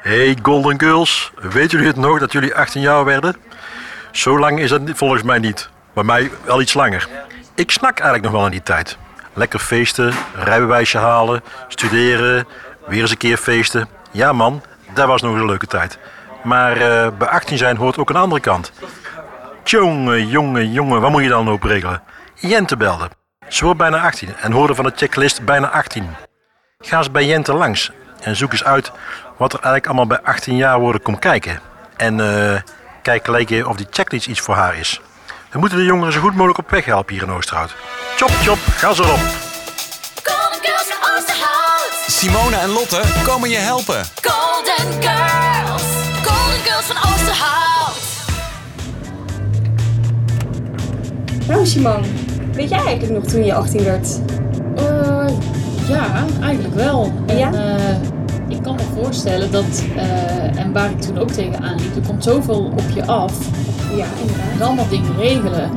Hey Golden Girls, weten jullie het nog dat jullie 18 jaar werden? Zo lang is dat niet- volgens mij niet. Bij mij wel iets langer. Ik snak eigenlijk nog wel aan die tijd. Lekker feesten, rijbewijsje halen, studeren, weer eens een keer feesten. Ja man, dat was nog een leuke tijd. Maar eh, bij 18 zijn hoort ook een andere kant. Tjonge, jonge, jonge, wat moet je dan op regelen? Jente belde. Ze wordt bijna 18 en hoorde van de checklist bijna 18. Ga eens bij Jente langs en zoek eens uit wat er eigenlijk allemaal bij 18 jaar worden komt kijken. En eh, kijk gelijk even of die checklist iets voor haar is. We moeten de jongeren zo goed mogelijk op weg helpen hier in Oosterhout. Chop, chop, ga ze erop. Golden Girls van Oosterhout. Simone en Lotte komen je helpen. Golden Girls. Golden Girls van Oosterhout. Nou Simon, weet jij eigenlijk nog toen je 18 werd? Eh, ja, eigenlijk wel. En, Ja? eh, ik kan me voorstellen dat, eh, en waar ik toen ook tegenaan liep, er komt zoveel op je af. Ja, inderdaad. En allemaal dingen regelen.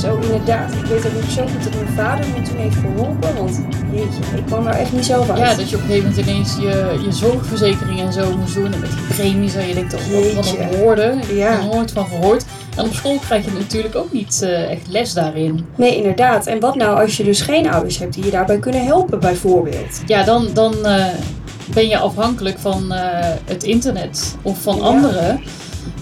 Zo inderdaad. Ik weet ook nog zo goed dat mijn vader me toen heeft geholpen. Want jeetje, ik kwam daar echt niet zelf uit. Ja, dus- dat je op een gegeven moment ineens je, je zorgverzekering en zo moest doen. En met die premies en je denkt, oh, wat wat Jeetje. een woorden. Ik Ja. heb er nooit van gehoord. En op school krijg je natuurlijk ook niet eh, echt les daarin. Nee, inderdaad. En wat nou als je dus geen ouders hebt die je daarbij kunnen helpen bijvoorbeeld? Ja, dan, dan eh, ben je afhankelijk van eh, het internet of van Ja. anderen.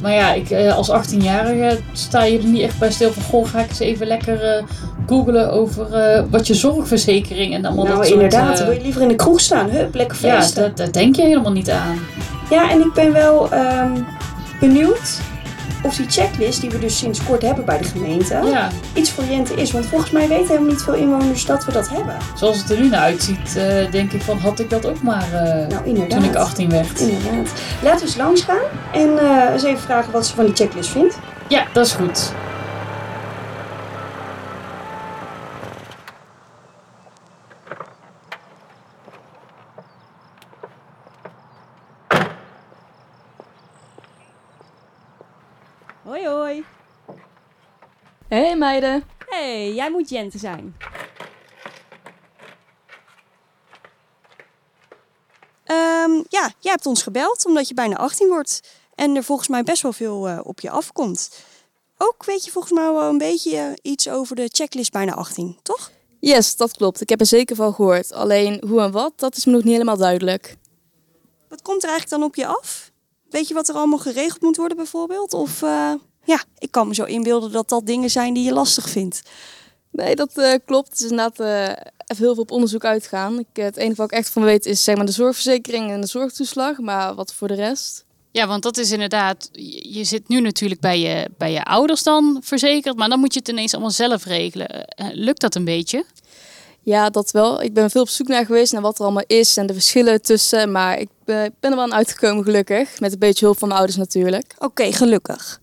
Maar ja, ik, eh, als 18-jarige sta je er niet echt bij stil van... Goh, ga ik eens even lekker eh, googlen over eh, wat je zorgverzekering en allemaal dat nou soort... inderdaad, eh, wil je liever in de kroeg staan? Hup, lekker ja, feesten. Ja, daar, daar denk je helemaal niet aan. en ik ben wel ehm, benieuwd of die checklist die we dus sinds kort hebben bij de gemeente Ja, iets voor Jente is. Want volgens mij weten helemaal niet veel inwoners dat we dat hebben. zoals het er nu naar uitziet, eh, denk ik van... had ik dat ook maar eh, Nou, inderdaad. toen ik 18 werd. Inderdaad. Laten we eens langs gaan en eh, eens even vragen wat ze van die checklist vindt. Ja, dat is goed. Hoi hoi. Hé hey meiden, hey, jij moet Jente zijn. Ehm, ja, jij hebt ons gebeld omdat je bijna 18 wordt en er volgens mij best wel veel eh, op je afkomt. Ook weet je volgens mij wel een beetje eh, iets over de checklist bijna 18, toch? Yes, dat klopt. Ik heb er zeker van gehoord. Alleen hoe en wat, dat is me nog niet helemaal duidelijk. Wat komt er eigenlijk dan op je af? Weet je wat er allemaal geregeld moet worden bijvoorbeeld? Of eh, ja, ik kan me zo inbeelden dat dat dingen zijn die je lastig vindt. Nee, dat eh, klopt. Het is inderdaad eh, even heel veel op onderzoek uitgaan. Ik, eh, het enige wat ik echt van weet is zeg maar, de zorgverzekering en de zorgtoeslag. Maar wat voor de rest? Ja, want dat is inderdaad, je je zit nu natuurlijk bij je, bij je ouders dan verzekerd, maar dan moet je het ineens allemaal zelf regelen. Eh, Lukt dat een beetje? Ja, dat wel. Ik ben veel op zoek naar geweest naar wat er allemaal is en de verschillen tussen. Maar ik eh, ben er wel aan uitgekomen gelukkig. Met een beetje hulp van mijn ouders natuurlijk. Oké, gelukkig.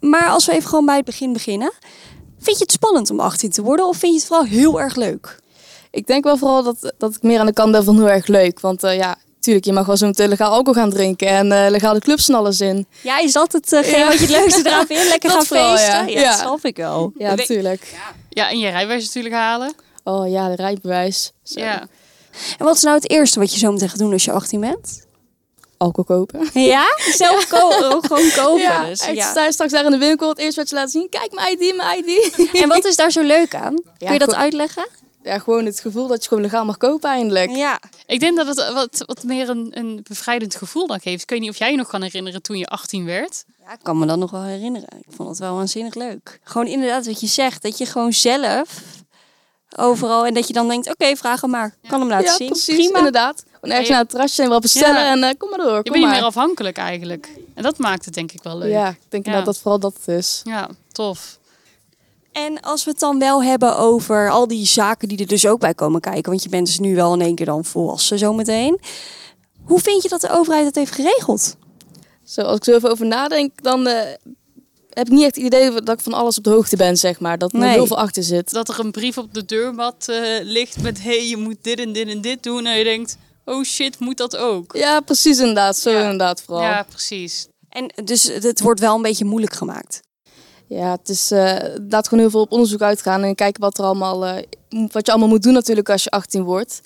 Maar als we even gewoon bij het begin beginnen. Vind je het spannend om 18 te worden of vind je het vooral heel erg leuk? Ik denk wel vooral dat, dat ik meer aan de kant ben van heel erg leuk. Want eh, ja, tuurlijk, je mag wel zo meteen legaal alcohol gaan drinken. En eh, legale clubs en alles in. Ja, is dat hetgeen Ja. wat je het leukste eraan vindt? Lekker Dat gaan vooral, feesten? ja. Ja, Ja. dat snap ik wel. Ja, natuurlijk. Ja, en je rijbewijs natuurlijk halen. Oh ja, de rijbewijs. Zo. Ja. En wat is nou het eerste wat je zo meteen gaat doen als je 18 bent? Alcohol kopen. Ja? Zelf ko- ook gewoon kopen. ja, dus, echt, ja. sta je straks daar in de winkel. Het eerste wat je laat zien. Kijk, mijn ID, mijn ID. En wat is daar zo leuk aan? Kun je dat goed. uitleggen? ja, gewoon het gevoel dat je gewoon legaal mag kopen eindelijk. Ja. Ik denk dat het wat, wat meer een, een bevrijdend gevoel dan geeft. Ik weet niet of jij je nog kan herinneren toen je 18 werd. Ja, ik kan me dat nog wel herinneren. Ik vond het wel waanzinnig leuk. Gewoon inderdaad wat je zegt, dat je gewoon zelf overal en dat je dan denkt, oké, vraag hem maar. Kan hem laten Ja, zien. precies. Prima. Inderdaad. Gewoon ergens Ja. naar het terrasje en wat bestellen. Ja. En eh, kom maar door. Je kom bent niet maar. meer afhankelijk eigenlijk. En dat maakt het denk ik wel leuk. Ja, ik denk Ja. inderdaad dat vooral dat het is. Ja, tof. En als we het dan wel hebben over al die zaken die er dus ook bij komen kijken, want je bent dus nu wel in één keer dan volwassen zometeen. Hoe vind je dat de overheid dat heeft geregeld? Zo, als ik zo even over nadenk, dan eh, heb ik niet echt het idee dat ik van alles op de hoogte ben, zeg maar. Dat er Nee. heel veel achter zit. Dat er een brief op de deurmat eh, ligt met hey, je moet dit en dit en dit doen. En je denkt, oh shit, moet dat ook? Ja, precies inderdaad. Zo inderdaad vooral. Ja, precies. En dus het wordt wel een beetje moeilijk gemaakt. Ja, het is eh laat gewoon heel veel op onderzoek uitgaan en kijken wat er allemaal, eh, wat je allemaal moet doen natuurlijk als je 18 wordt.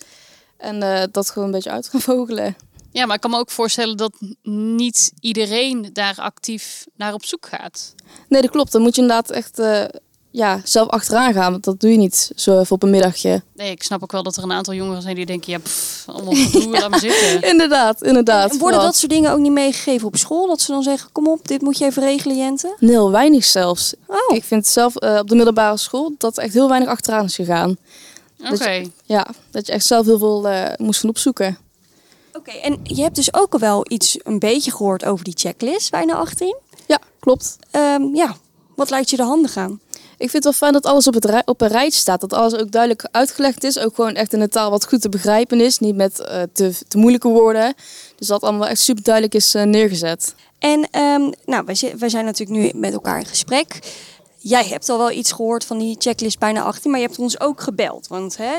En eh, dat gewoon een beetje uit gaan vogelen. Ja, maar ik kan me ook voorstellen dat niet iedereen daar actief naar op zoek gaat. Nee, dat klopt. Dan moet je inderdaad echt eh, ja, zelf achteraan gaan. Want dat doe je niet zo even op een middagje. Nee, ik snap ook wel dat er een aantal jongeren zijn die denken, ja, pff, allemaal gedoe, laat me zitten. Inderdaad, inderdaad. En worden vooral. dat soort dingen ook niet meegegeven op school? Dat ze dan zeggen, kom op, dit moet je even regelen, Jente. Heel weinig zelfs. Oh. Ik vind zelf eh, op de middelbare school dat er echt heel weinig achteraan is gegaan. Oké. Ja, dat je echt zelf heel veel eh, moest gaan opzoeken. Oké, en je hebt dus ook al wel iets een beetje gehoord over die checklist, bijna 18. Ja, klopt. Ehm, ja, wat lijkt je er handig aan? Ik vind het wel fijn dat alles op, het rij- op een rijtje staat. Dat alles ook duidelijk uitgelegd is. Ook gewoon echt in een taal wat goed te begrijpen is. Niet met eh, te, te moeilijke woorden. Dus dat allemaal echt super duidelijk is eh, neergezet. En ehm, nou, wij, zi- wij zijn natuurlijk nu met elkaar in gesprek. Jij hebt al wel iets gehoord van die checklist bijna 18, maar je hebt ons ook gebeld. Want hè,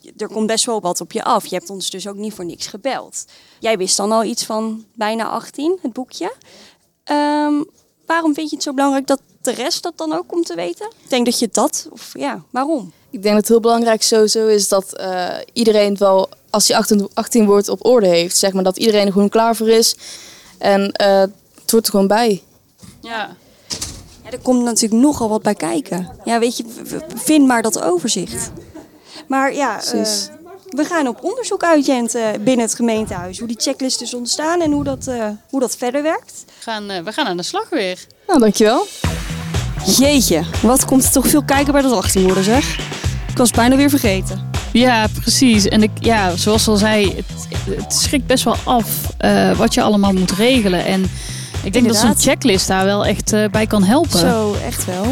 je- er komt best wel wat op je af. Je hebt ons dus ook niet voor niks gebeld. Jij wist dan al iets van bijna 18, het boekje. Ehm, waarom vind je het zo belangrijk dat de rest dat dan ook komt te weten? Ik denk dat je dat, of ja, waarom? Ik denk dat het heel belangrijk sowieso is dat eh, iedereen wel, als hij 18, 18 wordt, op orde heeft. Zeg maar dat iedereen er gewoon klaar voor is. En eh, het hoort er gewoon bij. Ja. Ja, er komt natuurlijk nogal wat bij kijken. Ja, weet je, v- v- vind maar dat overzicht. Maar ja, eh, Precies. we gaan op onderzoek uit, Jent, eh, binnen het gemeentehuis. Hoe die checklists dus ontstaan en hoe dat, eh, hoe dat verder werkt. We gaan, eh, we gaan aan de slag weer. Nou, dankjewel. Jeetje, wat komt er toch veel kijken bij dat 18 worden, zeg. Ik was bijna weer vergeten. Ja, precies. En ik, ja, zoals al zei, het, het schrikt best wel af eh, wat je allemaal moet regelen. En ik denk dat Inderdaad. zo'n checklist daar wel echt eh, bij kan helpen. Zo, echt wel.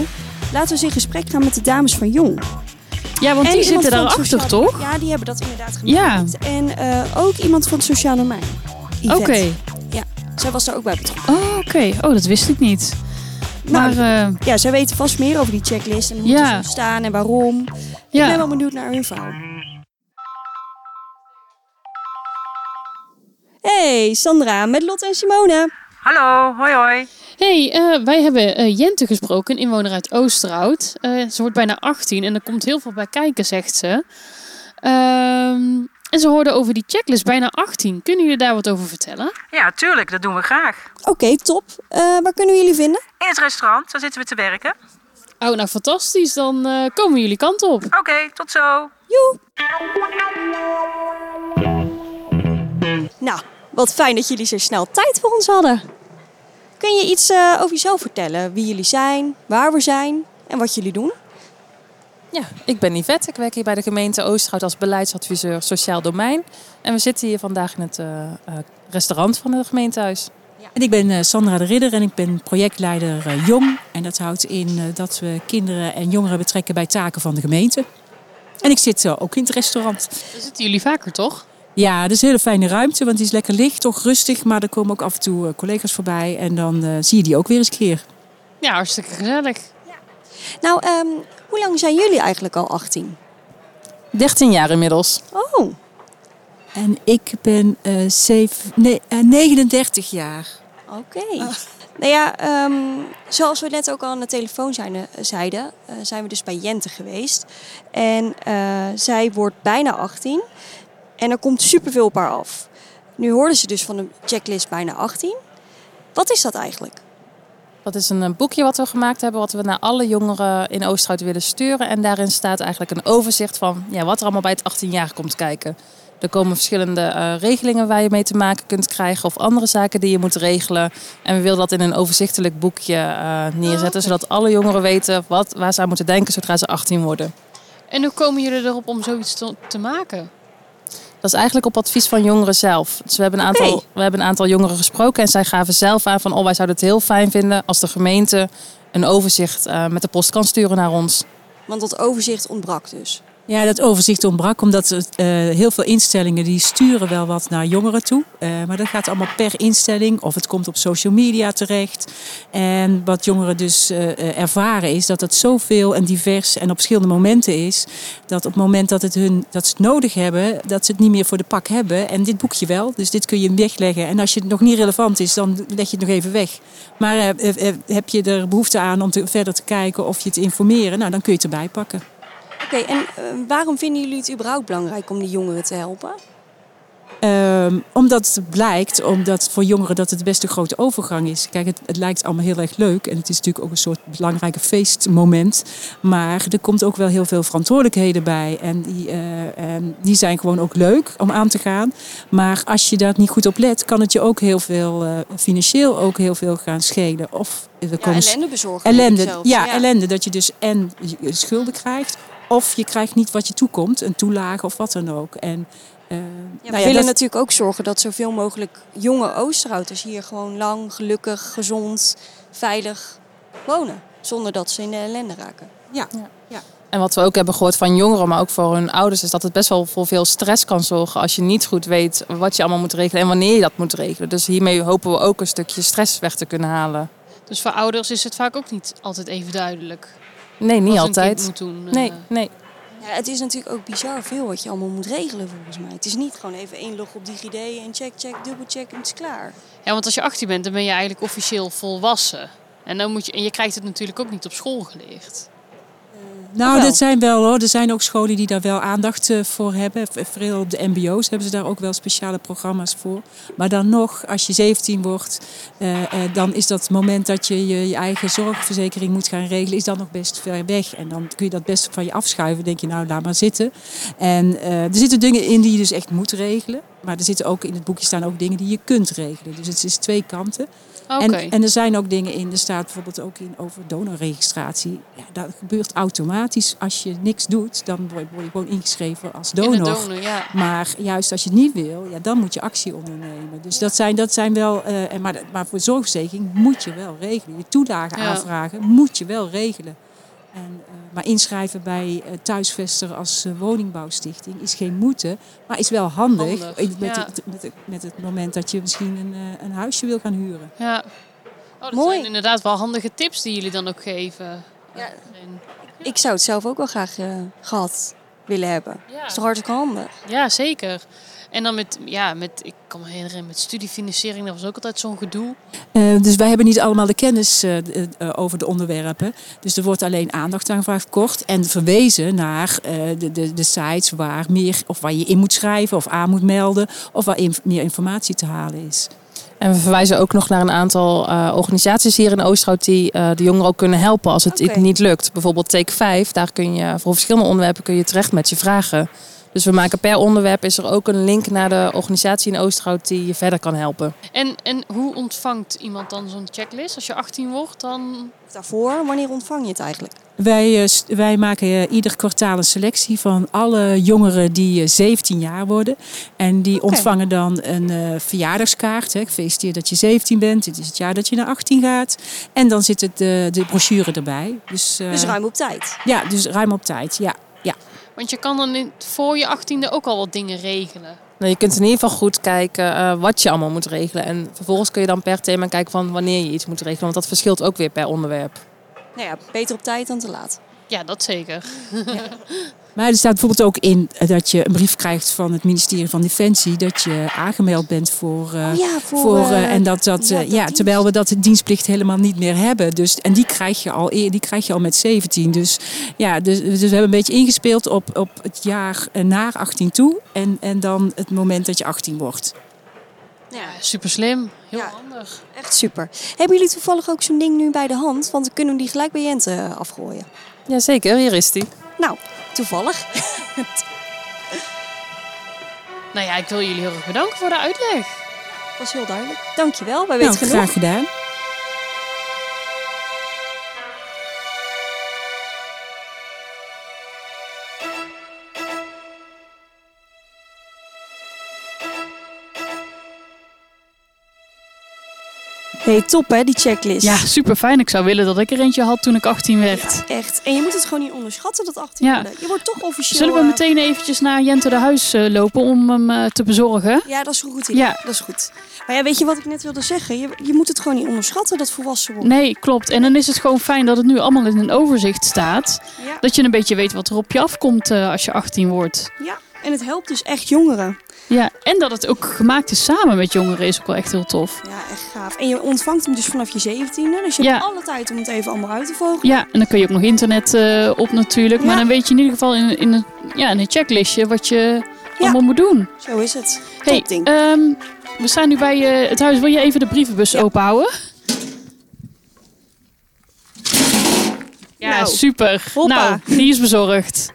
Laten we eens in gesprek gaan met de dames van Jong. Ja, want iemand die zitten van het daarachter, sociaal- toch? Ja, die hebben dat inderdaad Ja. gemaakt. En eh, ook iemand van het sociaal domein. Oké. Yvette. Zij was daar ook bij betrokken. Oh, oké. Oh, dat wist ik niet. Maar Nou, eh, Ja, zij weten vast meer over die checklist en hoe Ja. het is ontstaan en waarom. Ik ben ja, wel benieuwd naar hun verhaal. Hey, Sandra met Lotte en Simone. Hallo, hoi hoi. hey, eh, wij hebben eh, Jente gesproken, een inwoner uit Oosterhout. Eh, ze wordt bijna 18 en er komt heel veel bij kijken, zegt ze. Ehm, en ze hoorde over die checklist, bijna 18. Kunnen jullie daar wat over vertellen? Ja, tuurlijk, dat doen we graag. Oké, top. Eh, waar kunnen we jullie vinden? In het restaurant, daar zitten we te werken. Oh, nou fantastisch. Dan eh, komen jullie kant op. Oké, tot zo. Nou, wat fijn dat jullie zo snel tijd voor ons hadden. Kun je iets eh, over jezelf vertellen? Wie jullie zijn, waar we zijn en wat jullie doen? Ja, ik ben Yvette. Ik werk hier bij de gemeente Oosterhout als beleidsadviseur sociaal domein. En we zitten hier vandaag in het eh, eh, restaurant van het gemeentehuis. En ik ben eh, Sandra de Ridder en ik ben projectleider eh, Jong. En dat houdt in eh, dat we kinderen en jongeren betrekken bij taken van de gemeente. En ik zit eh, ook in het restaurant. Dan zitten jullie vaker, toch? Ja, dat is een hele fijne ruimte, want die is lekker licht, toch rustig. Maar er komen ook af en toe eh, collega's voorbij en dan eh, zie je die ook weer eens een keer. Ja, hartstikke gezellig. Nou, ehm, hoe lang zijn jullie eigenlijk al 18? 13 jaar inmiddels. Oh, En ik ben eh, zeven- nee, eh, 39 jaar. Oké. Nou ja, ehm, zoals we net ook al aan de telefoon zeiden, zeiden eh, zijn we dus bij Jente geweest. En eh, zij wordt bijna 18 en er komt superveel op haar af. Nu hoorden ze dus van de checklist bijna 18. Wat is dat eigenlijk? Dat is een eh, boekje wat we gemaakt hebben, wat we naar alle jongeren in Oosterhout willen sturen. En daarin staat eigenlijk een overzicht van ja, wat er allemaal bij het 18 jaar komt kijken. Er komen verschillende eh, regelingen waar je mee te maken kunt krijgen of andere zaken die je moet regelen. En we willen dat in een overzichtelijk boekje eh, neerzetten, zodat alle jongeren weten wat, waar ze aan moeten denken zodra ze 18 worden. En hoe komen jullie erop om zoiets te, te maken? Dat is eigenlijk op advies van jongeren zelf. Dus we hebben, een Oké. aantal, we hebben een aantal jongeren gesproken en zij gaven zelf aan van... oh, wij zouden het heel fijn vinden als de gemeente een overzicht eh, met de post kan sturen naar ons. Want dat overzicht ontbrak dus. Ja, dat overzicht ontbrak, omdat het, eh, heel veel instellingen die sturen wel wat naar jongeren toe. Eh, maar dat gaat allemaal per instelling of het komt op social media terecht. En wat jongeren dus eh, eh, ervaren is dat het zoveel en divers en op verschillende momenten is. Dat op het moment dat, het hun, dat ze het nodig hebben, dat ze het niet meer voor de pak hebben. En dit boekje wel, dus dit kun je wegleggen. En als je het nog niet relevant is, dan leg je het nog even weg. Maar eh, eh, eh, heb je er behoefte aan om te, verder te kijken of je te informeren, nou, dan kun je het erbij pakken. Oké, en eh, waarom vinden jullie het überhaupt belangrijk om die jongeren te helpen? Ehm, omdat het blijkt, omdat voor jongeren dat het best een grote overgang is. Kijk, het, het lijkt allemaal heel erg leuk en het is natuurlijk ook een soort belangrijke feestmoment. Maar er komt ook wel heel veel verantwoordelijkheden bij. En die, eh, en die zijn gewoon ook leuk om aan te gaan. Maar als je daar niet goed op let, kan het je ook heel veel, eh, financieel ook heel veel gaan schelen. Of er Ja, komen s- ellende bezorgen. ellende. zelfs. ja, ellende. Dat je dus en je schulden krijgt. Of je krijgt niet wat je toekomt. Een toelage of wat dan ook. En, eh, Ja, we nou ja, willen dat- natuurlijk ook zorgen dat zoveel mogelijk jonge Oosterhouters hier gewoon lang, gelukkig, gezond, veilig wonen. Zonder dat ze in de ellende raken. En wat we ook hebben gehoord van jongeren, maar ook voor hun ouders, is dat het best wel voor veel stress kan zorgen als je niet goed weet wat je allemaal moet regelen en wanneer je dat moet regelen. Dus hiermee hopen we ook een stukje stress weg te kunnen halen. Dus voor ouders is het vaak ook niet altijd even duidelijk. Nee, niet wat altijd. Een kind moet doen. eh. Nee, nee. Ja, het is natuurlijk ook bizar veel wat je allemaal moet regelen volgens mij. Het is niet gewoon even één log op DigiD en check, check, dubbelcheck en het is klaar. Ja, want als je 18 bent, dan ben je eigenlijk officieel volwassen. En, dan moet je, en je krijgt het natuurlijk ook niet op school geleerd. Nou, wel? dat zijn wel hoor. Er zijn ook scholen die daar wel aandacht eh, voor hebben. V- Veel op de MBO's hebben ze daar ook wel speciale programma's voor. Maar dan nog, als je 17 wordt, eh, eh, dan is dat moment dat je je, je eigen zorgverzekering moet gaan regelen, is dan nog best ver weg. En dan kun je dat best van je afschuiven. Dan denk je, nou, laat maar zitten. En eh, er zitten dingen in die je dus echt moet regelen. Maar er zitten ook in het boekje staan ook dingen die je kunt regelen. Dus het is twee kanten. Oké. En, en er zijn ook dingen in, er staat bijvoorbeeld ook in over donorregistratie. Ja, dat gebeurt automatisch. Als je niks doet, dan word je, word je gewoon ingeschreven als donor. In de donor, ja. Maar juist als je het niet wil, ja, dan moet je actie ondernemen. Dus dat zijn, dat zijn wel. eh, en maar, maar voor zorgverzekering moet je wel regelen. Je toelagen Ja. aanvragen moet je wel regelen. En, eh, maar inschrijven bij eh thuisvester als eh, woningbouwstichting is geen moeten, maar is wel handig. Handig, eh, Met, ja. het, met, het, met het moment dat je misschien een, eh, een huisje wil gaan huren. Ja. Oh, dat Mooi. zijn inderdaad wel handige tips die jullie dan ook geven. Ja. En- Ik zou het zelf ook wel graag eh, gehad willen hebben. Ja. Dat is toch hartstikke handig? Ja, zeker. En dan met, ja, met, ik kan me herinneren, met studiefinanciering, dat was ook altijd zo'n gedoe. Eh, dus wij hebben niet allemaal de kennis eh, d- eh, over de onderwerpen. Dus er wordt alleen aandacht aangevraagd, kort. En verwezen naar eh, de, de, de sites waar, meer, of waar je in moet schrijven of aan moet melden. Of waar inf- meer informatie te halen is. En we verwijzen ook nog naar een aantal eh, organisaties hier in Oosterhout die eh, de jongeren ook kunnen helpen als het Oké. niet lukt. Bijvoorbeeld Take 5, daar kun je voor verschillende onderwerpen kun je terecht met je vragen. Dus we maken per onderwerp is er ook een link naar de organisatie in Oosterhout die je verder kan helpen. En, en hoe ontvangt iemand dan zo'n checklist? Als je 18 wordt, dan... Daarvoor, wanneer ontvang je het eigenlijk? Wij, eh, st- wij maken eh, ieder kwartaal een selectie van alle jongeren die eh, 17 jaar worden. En die ontvangen dan een eh, verjaardagskaart. Hè. Gefeliciteerd dat je 17 bent. Dit is het jaar dat je naar 18 gaat. En dan zit het, eh, de brochure erbij. Dus, eh, Dus ruim op tijd. Ja, dus ruim op tijd. Ja, ja. Want je kan dan in, voor je 18e ook al wat dingen regelen. Nou, je kunt in ieder geval goed kijken eh, wat je allemaal moet regelen. En vervolgens kun je dan per thema kijken van wanneer je iets moet regelen. Want dat verschilt ook weer per onderwerp. Nou ja, beter op tijd dan te laat. Ja, dat zeker. Maar er staat bijvoorbeeld ook in eh, dat je een brief krijgt van het ministerie van Defensie. Dat je aangemeld bent voor... eh, Oh ja, voor, eh, eh, en dat, dat, ja, eh, dat ja, dienst. terwijl we dat dienstplicht helemaal niet meer hebben. Dus, en die krijg, je al, eer- die krijg je al met 17. Dus, ja, dus, dus we hebben een beetje ingespeeld op, op het jaar eh, naar 18 toe. En, en dan het moment dat je 18 wordt. Ja, super slim. Heel Ja. handig. Echt super. Hebben jullie toevallig ook zo'n ding nu bij de hand? Want dan kunnen we die gelijk bij Jente eh, afgooien. Jazeker, hier is die. Nou, toevallig. Nou ja, ik wil jullie heel erg bedanken voor de uitleg. was heel duidelijk. Dankjewel, wij Nou, weten genoeg. graag gedaan. Hey, top hè, die checklist. Ja, super fijn. Ik zou willen dat ik er eentje had toen ik 18 werd. Echt. En je moet het gewoon niet onderschatten, dat 18 Ja. worden. Je wordt toch officieel... Zullen we eh, meteen eventjes naar Jente de Huis eh, lopen om hem eh, te bezorgen? Ja, dat is een goed idee. Ja. Dat is goed. Maar ja, weet je wat ik net wilde zeggen? Je, je moet het gewoon niet onderschatten, dat volwassen worden. Nee, klopt. En dan is het gewoon fijn dat het nu allemaal in een overzicht staat. Ja. Dat je een beetje weet wat er op je afkomt eh, als je 18 wordt. ja. En het helpt dus echt jongeren. Ja, en dat het ook gemaakt is samen met jongeren is ook wel echt heel tof. Ja, echt gaaf. En je ontvangt hem dus vanaf je 17e. Dus je Ja. hebt alle tijd om het even allemaal uit te vogelen. Ja, en dan kun je ook nog internet eh, op natuurlijk. Maar Ja. dan weet je in ieder geval in, in, een, ja, in een checklistje wat je allemaal moet doen. Zo is het. Hey, Topding. ehm, we staan nu bij eh, het huis. Wil je even de brievenbus openhouden? Ja, Nou. super. Hoppa. Nou, die is bezorgd.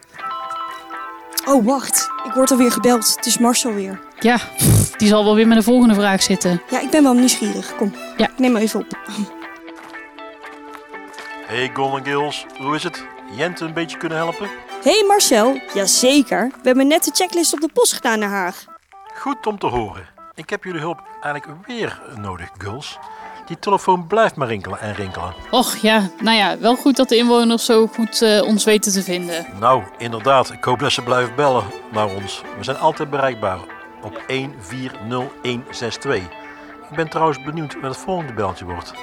Oh, wacht. Ik word alweer gebeld. Het is Marcel weer. Ja, pff, die zal wel weer met een volgende vraag zitten. Ja, ik ben wel nieuwsgierig. Kom. Ja. Ik neem maar even op. Hey Golden Girls, hoe is het? Jente een beetje kunnen helpen? Hey Marcel. Jazeker. We hebben net de checklist op de post gedaan naar Haag. Goed om te horen. Ik heb jullie hulp eigenlijk weer nodig, girls. Die telefoon blijft maar rinkelen en rinkelen. Och ja, nou ja, wel goed dat de inwoners zo goed eh, ons weten te vinden. Nou, inderdaad. Ik hoop dat ze blijven bellen naar ons. We zijn altijd bereikbaar op 140162. Ik ben trouwens benieuwd wat het volgende beltje wordt.